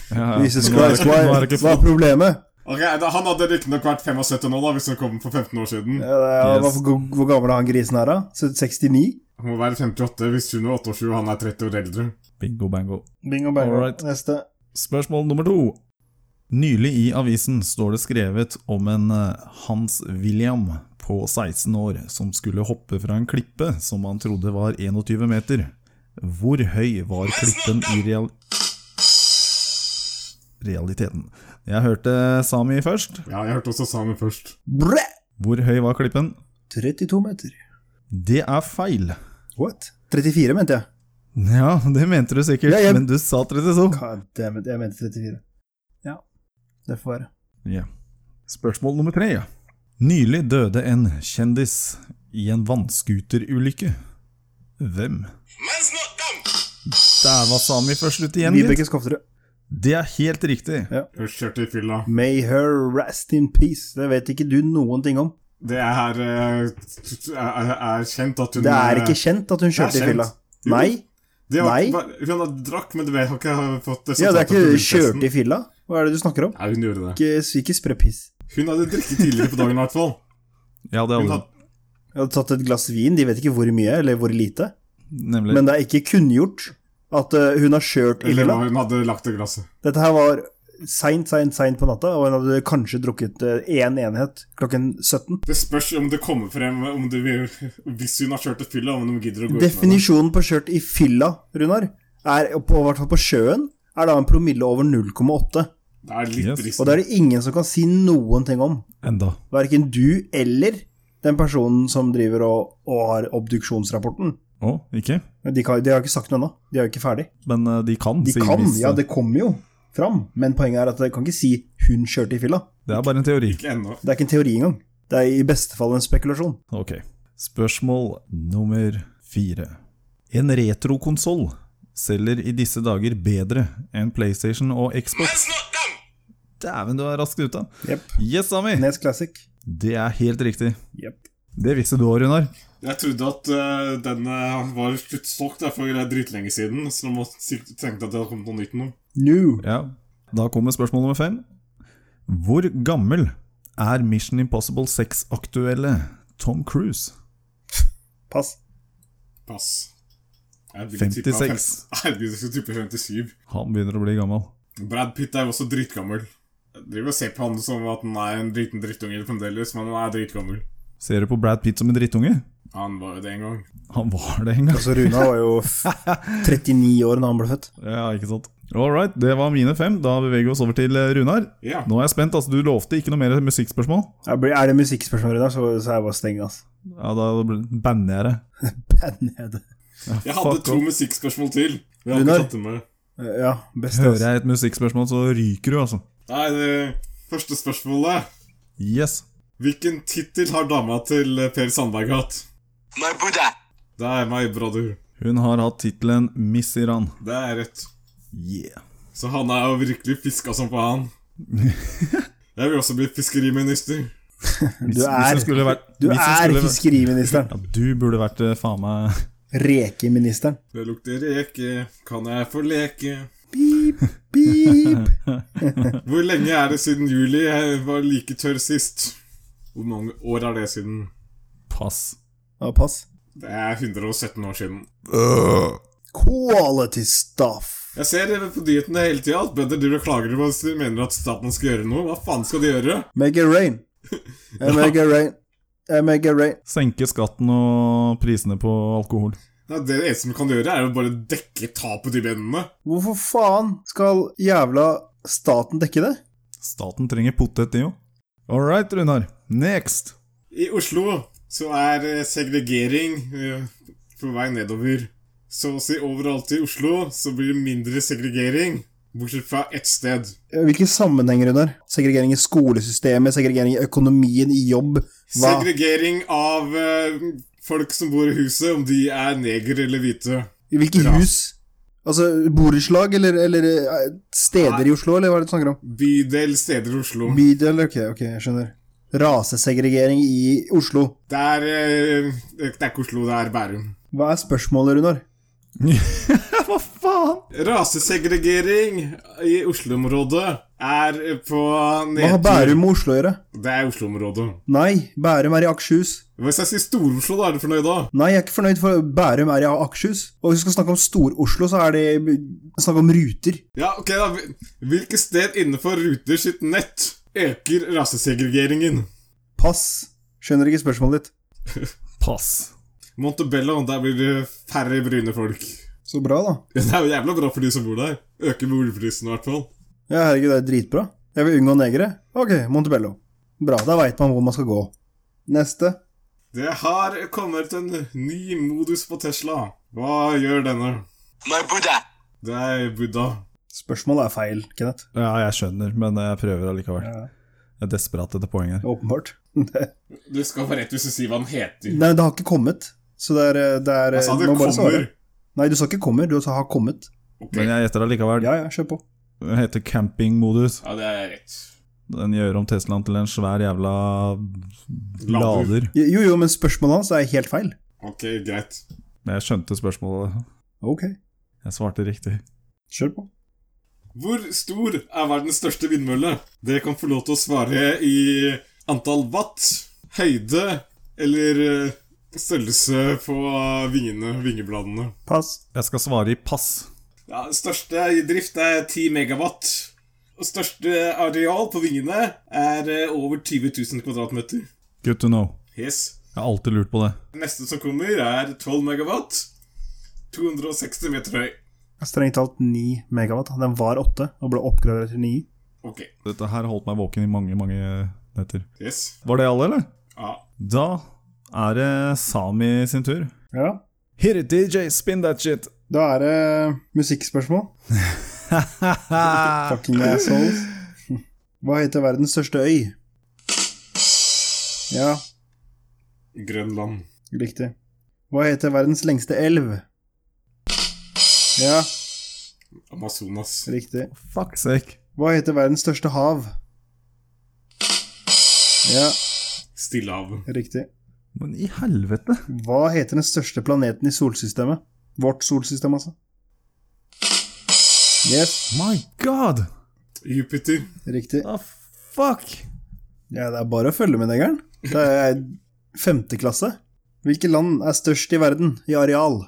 E: Ja, ja.
C: Jesus
E: Nå er det
C: Christ,
E: ikke-
C: hva
E: nå er
C: er,
E: det ikke
C: hva er problemet?
A: Ok, da, Han hadde riktignok vært 75 nå, da, hvis hun kom for 15 år siden.
C: Ja, det er-
E: Yes.
C: hva- hvor, hvor gammel er han grisen her, da? Så 69?
A: Han må være 58 hvis hun er 28 og han er 30 år eldre.
E: Bingo bango.
C: Bingo, bango.
E: Alright.
C: Neste.
E: Spørsmål nummer to. Nylig i avisen står det skrevet om en eh, Hans William på 16 år som skulle hoppe fra en klippe som han trodde var 21 meter. Hvor høy var klippen i real... realiteten? Jeg hørte Sami først.
A: Ja, jeg hørte også Sami først.
C: Brø!
E: Hvor høy var klippen?
C: 32 meter.
E: Det er feil.
C: What? 34, mente jeg.
E: Ja, det mente du sikkert,
C: Ja, jeg-
E: men du sa 32.
C: God damn it, jeg mente 34. Ja, det får være.
E: Ja. Spørsmål nummer tre. ja. Nylig døde en kjendis i en vannskuterulykke. Hvem?
G: Man's not dumb.
E: Der var Sami først ut igjen, gitt.
C: Vibeke Skofterud.
E: Det er helt riktig.
A: Hun kjørte i fylla.
C: May her rest in peace. Det vet ikke du noen ting om.
A: Det er, eh, t- er, er kjent at hun eh,
C: Det er ikke kjent at hun
A: er
C: kjørte i
A: kjent.
C: fylla.
A: Jo.
C: Nei?
A: Det var,
C: Nei.
A: var- Hun har drakk, men det har ikke fått
C: Ja,
A: fra
C: det er ikke
A: biltesten.
C: kjørt i fylla. Hva er det du snakker om?
A: Nei, hun gjorde det.
C: Ikke, ikke spre piss.
A: Hun hadde drukket tidligere på dagen, i hvert fall.
E: Ja, det
A: Hun
E: hadde
A: hadde,
C: Jeg hadde tatt et glass vin, de vet ikke hvor mye eller hvor lite.
E: nemlig.
C: Men det er ikke kunngjort at eh, hun har kjørt ille.
A: eller
C: da.
A: hva hun hadde lagt i glasset.
C: Dette her var seint, seint, seint på natta, og hun hadde kanskje drukket én enhet klokken 17.
A: Det spørs om det kommer frem om det vil, hvis hun har kjørt et fylla, om de gidder å gå ut med det.
C: Definisjonen på kjørt i fylla, Runar, er på, i hvert fall på sjøen, er da en promille over 0,8.
A: Det er litt
E: Yes.
A: trist.
C: Og det er det ingen som kan si noen ting om.
E: Enda.
C: Verken du eller den personen som driver og, og har obduksjonsrapporten.
E: Å, ikke?
C: De, kan, de har ikke sagt noe ennå. De er jo ikke ferdig.
E: Men eh, de kan,
C: De
E: sier
C: kan,
E: hvis,
C: ja,
E: eh,
C: det kommer jo fram, men poenget er at de kan ikke si 'hun kjørte i fylla'.
E: det er bare en teori.
A: Ikke ennå.
C: Det er ikke en teori engang. Det er i beste fall en spekulasjon.
E: Ok. Spørsmål nummer fire. En retrokonsoll selger i disse dager bedre enn PlayStation og Xbox.
G: Let's not them.
E: Dæven, du er raskt ute.
C: Jep.
E: Yes, Sami!
C: Nes Classic.
E: Det er helt riktig.
C: Jep.
E: Det visste du òg, Runar.
A: Jeg trodde at eh, den eh, var sluttsolgt der for dritlenge siden, så nå må sikkert tenkte at det hadde kommet noe nytt nå.
C: New.
E: Ja. Da kommer spørsmål nummer fem. Hvor gammel er Mission Impossible 6-aktuelle Tom Cruise?
C: Pass.
A: Pass. Jeg vil tippe
E: 56.
A: fem- Herregud, jeg skulle tippe 57.
E: Han begynner å bli gammel.
A: Brad Pitt er jo også dritgammel. Jeg driver og ser på han som at han er en driten drittunge fremdeles, men han er dritgammel.
E: Ser du på Brad Pitt som en drittunge?
A: Han var jo det en gang.
E: Han var det en gang.
C: Altså, Runa var jo f- 39 år da han ble født.
E: Ja, ikke sant. All right, det var mine fem. Da beveger vi oss over til eh, Runar.
A: Ja.
E: Nå er jeg spent. altså Du lovte ikke noe mer musikkspørsmål.
C: Jeg blir- Er det musikkspørsmål, Runa, så, så er jeg bare steng, altså.
E: Ja, Da banner jeg det.
C: Nede.
A: Jeg hadde
E: Fuck
A: to
E: off.
A: musikkspørsmål til. Jeg har
C: Runar.
A: ikke tatt det med.
C: Ja, best.
E: Hører
C: Altså.
E: jeg et musikkspørsmål, så ryker du, altså.
A: Nei, det første spørsmålet
E: Yes.
A: Hvilken tittel har dama til eh, Per Sandberg hatt?
G: My Buddha.
A: Det er meg, brother.
E: Hun har hatt tittelen Miss Iran.
A: Det er rett.
E: Yeah.
A: Så han er jo virkelig fiska som faen. Jeg vil også bli fiskeriminister.
C: Du
E: Hvis jeg
C: er,
E: skulle vært,
C: du
E: hvis jeg
C: er
E: skulle vært-
C: fiskeriministeren.
E: Ja, du burde vært eh, faen meg
C: Rekeministeren.
A: Det lukter reke, kan jeg få leke?
C: Beep, beep.
A: Hvor lenge er det siden juli? Jeg var like tørr sist. Hvor mange år er det siden?
E: pass.
C: Ja, pass.
A: Det er 117 år siden.
C: Quality stuff.
A: Jeg ser på nyhetene hele tida at bønder driver og klager på at de mener at staten skal gjøre noe. Hva faen skal de gjøre?
C: Make it rain. I make it rain. I make it rain.
E: Senke skatten og prisene på alkohol.
A: Nei, det eneste de kan gjøre, er jo bare dekke tapet til bøndene.
C: Hvorfor faen skal jævla staten dekke det?
E: Staten trenger potet, de jo. All right, Runar. Next.
A: I Oslo så er eh, segregering eh, på vei nedover. Så å si overalt i Oslo så blir det mindre segregering, bortsett fra ett sted.
C: Eh, Hvilke sammenhenger under? Segregering i skolesystemet, segregering i økonomien, i jobb Hva?
A: Segregering av eh, folk som bor i huset, om de er neger eller hvite.
C: I hvilke
A: Ras.
C: hus? Altså borettslag, eller, eller eh, steder i Oslo, eller hva er det du snakker om?
A: Bydel, steder i Oslo.
C: Bydel, ok, ok, jeg skjønner. Rasesegregering i Oslo.
A: Det er eh, Det er ikke Oslo, det er Bærum.
C: Hva er spørsmålet, Runar?
E: Hva faen?
A: Rasesegregering i Oslo-området er eh, på
C: Hva har Bærum med Oslo å gjøre?
A: Det er Oslo-området.
C: Nei, Bærum er i Akershus.
A: Hvis jeg sier Stor-Oslo, da er du fornøyd da?
C: Nei, jeg er ikke fornøyd, for Bærum er i Akershus. Og hvis vi skal snakke om Stor-Oslo, så er det eh, snakk om ruter.
A: Ja, ok da. Hvil- Hvilket sted innenfor Ruter sitt nett øker rasesegregeringen?
C: Pass. Skjønner ikke spørsmålet ditt.
E: Pass.
A: Montebello, der blir det færre brune folk.
C: Så bra, da.
A: Ja, Det er jo jævla bra for de som bor der. Øker boligprisen i hvert fall.
C: Ja, herregud, det er dritbra. Jeg vil unngå negere. Ok, Montebello. Bra, da veit man hvor man skal gå. Neste.
A: Det har kommet en ny modus på Tesla. Hva gjør denne?
G: My Buddha.
A: Det er Buddha.
C: Spørsmålet er feil, Kenneth.
E: Ja, jeg skjønner, men jeg prøver allikevel.
C: Ja.
E: Jeg er desperat etter poeng her.
C: Åpenbart.
A: Du skal få rett hvis du sier hva den heter.
C: Nei, det har ikke kommet. Så det er, eh, det er
A: Jeg sa det
C: må bare svare.
A: kommer.
C: Nei, du sa ikke 'kommer', du sa 'har kommet'.
A: Ok,
E: Men jeg gjetter allikevel.
C: Ja, ja, kjør på.
E: Den heter campingmodus.
A: Ja, det er rett.
E: Den gjør om Teslaen til en svær jævla lader.
C: Jo, jo, men spørsmålet hans er helt feil.
A: Ok, greit.
E: Jeg skjønte spørsmålet.
C: Ok,
E: Jeg svarte riktig.
C: kjør på.
A: Hvor stor er verdens største vindmølle? Dere kan få lov til å svare i antall watt, høyde eller eh, størrelse på vingene, vingebladene.
E: Pass. Jeg skal svare i pass.
A: Ja, største i drift er 10 megawatt. Og største areal på vingene er eh, over 20 000 kvadratmeter.
E: Good to know.
A: Yes.
E: Jeg har alltid lurt på det.
A: Neste som kommer, er 12 megawatt. 260 meter høy.
C: Strengt talt 9 megawatt. Den var 8 og ble oppgradert til 9.
A: Ok.
E: Dette her holdt meg våken i mange, mange netter.
A: Yes.
E: Var det alle, eller?
A: Ja.
E: Da er det Sami sin tur.
C: Ja.
E: Hit it, DJ, spin that shit!
C: Da er det musikkspørsmål.
E: Ah.
C: Fucking assholes. Hva heter verdens største øy? Ja,
A: Grønland.
C: riktig. Hva heter verdens lengste elv? Ja,
A: Amazonas.
C: riktig.
E: Fuck sake.
C: Hva heter verdens største hav? Ja,
A: Stillehavet.
C: riktig.
E: Men i helvete.
C: Hva heter den største planeten i solsystemet? Vårt solsystem, altså. Yes,
E: My god!
A: Jupiter.
C: riktig.
E: The fuck?
C: Ja, det er bare å følge med, negeren. Det er femte klasse. Hvilke land er størst i verden i areal?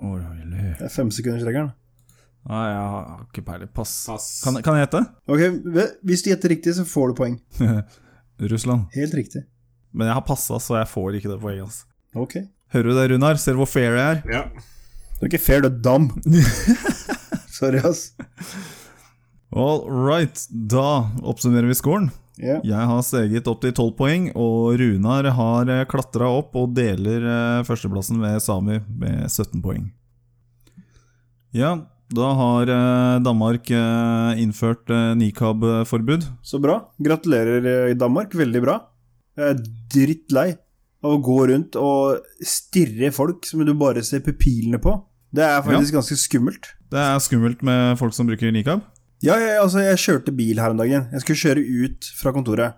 E: Oi, oi, oi.
C: Det er femsekundersregelen.
E: Nei, jeg har ikke peiling. Pass.
A: Pass.
E: Kan, kan jeg hete?
C: Ok, ve- hvis du gjetter riktig, så får du poeng.
E: Russland.
C: Helt riktig.
E: Men jeg har passa, så jeg får ikke det poenget. ass.
C: Ok. Det
E: Hører du det, Runar? Ser du hvor fair jeg er?
A: Ja.
C: er ikke fair, du er dam. Sorry, ass.
E: All right, da oppsummerer vi scoren.
C: Ja,
E: Jeg har steget opp til 12 poeng, og Runar har klatra opp og deler eh, førsteplassen med Sami med 17 poeng. Ja, da har eh, Danmark eh, innført eh, nikab-forbud.
C: Så bra. Gratulerer, eh, Danmark. Veldig bra. Jeg er drittlei av å gå rundt og stirre folk som du bare ser pupilene på. Det er faktisk ganske skummelt.
E: Det er skummelt med folk som bruker nikab.
C: Ja, jeg, altså, jeg kjørte bil her om dagen. Jeg skulle kjøre ut fra kontoret.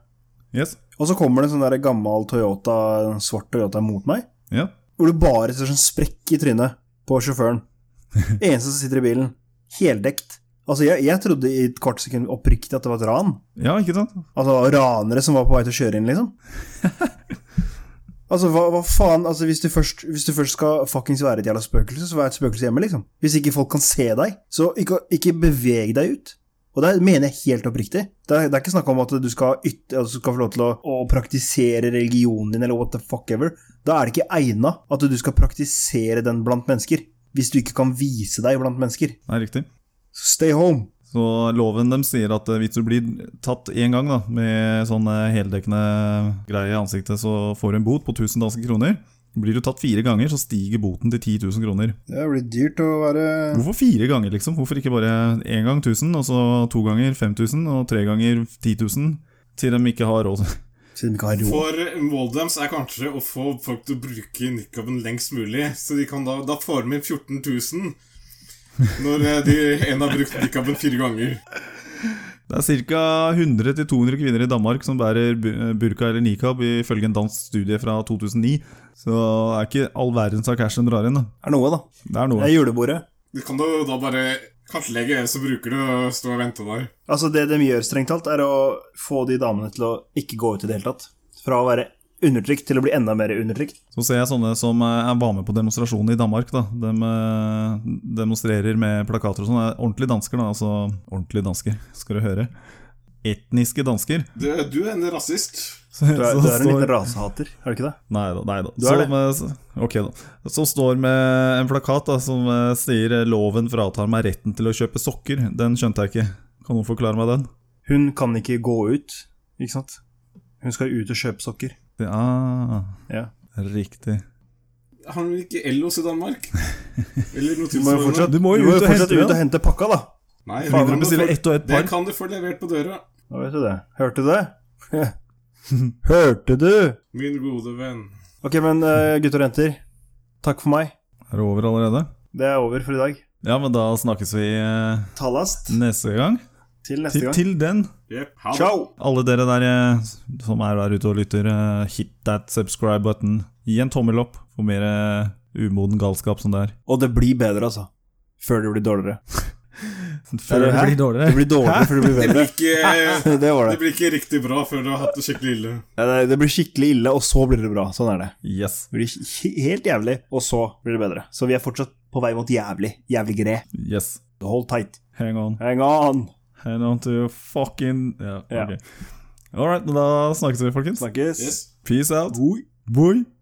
E: Yes.
C: Og så kommer det en sånn der gammel Toyota, en svart Toyota mot meg,
E: Ja.
C: hvor du bare ser sånn sprekk i trynet på sjåføren. Eneste som sitter i bilen. Heldekt. Altså, jeg, jeg trodde i et kvart sekund oppriktig at det var et ran.
E: ja, ikke sant?
C: Altså ranere som var på vei til å kjøre inn, liksom. Altså, hva, hva faen Altså, hvis du først, hvis du først skal fuckings være et jævla spøkelse, så vær et spøkelse hjemme, liksom. Hvis ikke folk kan se deg, så ikke, ikke beveg deg ut. Og det mener jeg helt oppriktig. Det er, det er ikke snakk om at du skal, yt- altså, du skal få lov til å, å praktisere religionen din, eller what the fuck ever. Da er det ikke egna at du skal praktisere den blant mennesker. Hvis du ikke kan vise deg blant mennesker.
E: Det er riktig.
C: Så stay home.
E: Så loven dem sier at eh, hvis du blir tatt én gang da, med sånn eh, heldekkende greie i ansiktet, så får du en bot på 1000 danske kroner. Blir du tatt fire ganger, så stiger boten til 10 000 kroner.
C: Det blir dyrt å være
E: Hvorfor fire ganger, liksom? Hvorfor ikke bare én gang 1000, og så to ganger 5000, og tre ganger 10 000? Til de ikke har råd.
C: Siden vi ikke har råd.
A: For målet deres er kanskje å få folk til å bruke nikaben lengst mulig. Så de kan da, da får de inn 14 000 når eh, de, en har brukt nikaben fire ganger.
E: Det er ca. 100-200 kvinner i Danmark som bærer bu- burka eller nikab, ifølge en dansk studie fra 2009. Så det er ikke all verdens av cash de drar inn. da.
C: Det er noe, da.
E: Det er
C: Det
E: noe.
C: er julebordet.
A: Du kan jo da bare kartlegge hvem som bruker det, og stå og vente der.
C: Altså Det de gjør, strengt talt, er å få de damene til å ikke gå ut i det hele tatt. Fra å være undertrykt til å bli enda mer undertrykt.
E: Så ser jeg sånne som eh, var med på demonstrasjonen i Danmark. da. De eh, demonstrerer med plakater og sånn. Det er Ordentlige dansker, da. Altså ordentlige dansker, skal du høre. Etniske dansker.
A: Du, du er en rasist.
E: Så,
C: Du er,
E: så
C: du er en
E: står-
C: liten rasehater, er du ikke det?
E: Nei da. Nei da.
C: Du er det.
E: Som, eh, s- ok da. Som står med en plakat da, som eh, sier eh, 'Loven fratar meg retten til å kjøpe sokker'. Den skjønte jeg ikke. Kan noen forklare meg den?
C: Hun kan ikke gå ut, ikke sant? Hun skal ut og kjøpe sokker.
E: Det, ah,
C: Ja.
E: riktig.
A: Har du ikke Ellos i Danmark? Eller noe
C: Du må jo
A: tilsvarende?
C: fortsatt,
E: Du må jo
C: du må jo
E: ut og
C: fortsatt
E: hente
C: ut
E: den.
C: og hente pakka, da.
A: Nei,
E: Faen,
A: det
E: dere
A: kan du
E: bestiller
A: få-
E: ett og ett
A: Det
E: par.
A: kan du få levert på døra.
C: Da vet du det. Hørte du det? Hørte du?
A: Min gode venn.
C: Ok, men eh, gutter og jenter, takk for meg.
E: Er det over allerede?
C: Det er over for i dag.
E: Ja, men da snakkes vi eh,
C: Tallast
E: neste gang.
C: til neste
E: Til,
C: gang.
E: til den.
A: Jep, ha det.
C: Ciao!
E: Alle dere der eh, som er der ute og lytter, eh, hit that subscribe button. Gi en tommel opp for mer eh, umoden galskap som det er.
C: Og det blir bedre, altså. Før det blir dårligere.
E: Før det
C: Hæ?
E: blir
C: Det
E: dårligere.
C: blir dårligere før det blir
A: Det
C: bedre.
A: blir ikke,
C: Det var
A: Eh, det
C: det.
A: blir ikke riktig bra før du har hatt det skikkelig ille.
C: Ja, det- Det blir skikkelig ille, og så blir det bra. Sånn er det.
E: Yes.
C: Det blir he- helt jævlig, og så blir det bedre. Så vi er fortsatt på vei mot jævlig. Jævlig gre.
E: Yes.
C: Hold tight.
E: Hang on.
C: Hang on!
E: Hang on to your fucking Ja,
C: Ja.
E: ok. All right, da snakkes vi, folkens.
C: Snakkes.
A: Yes.
E: Peace out.
C: Oi.
E: Boy.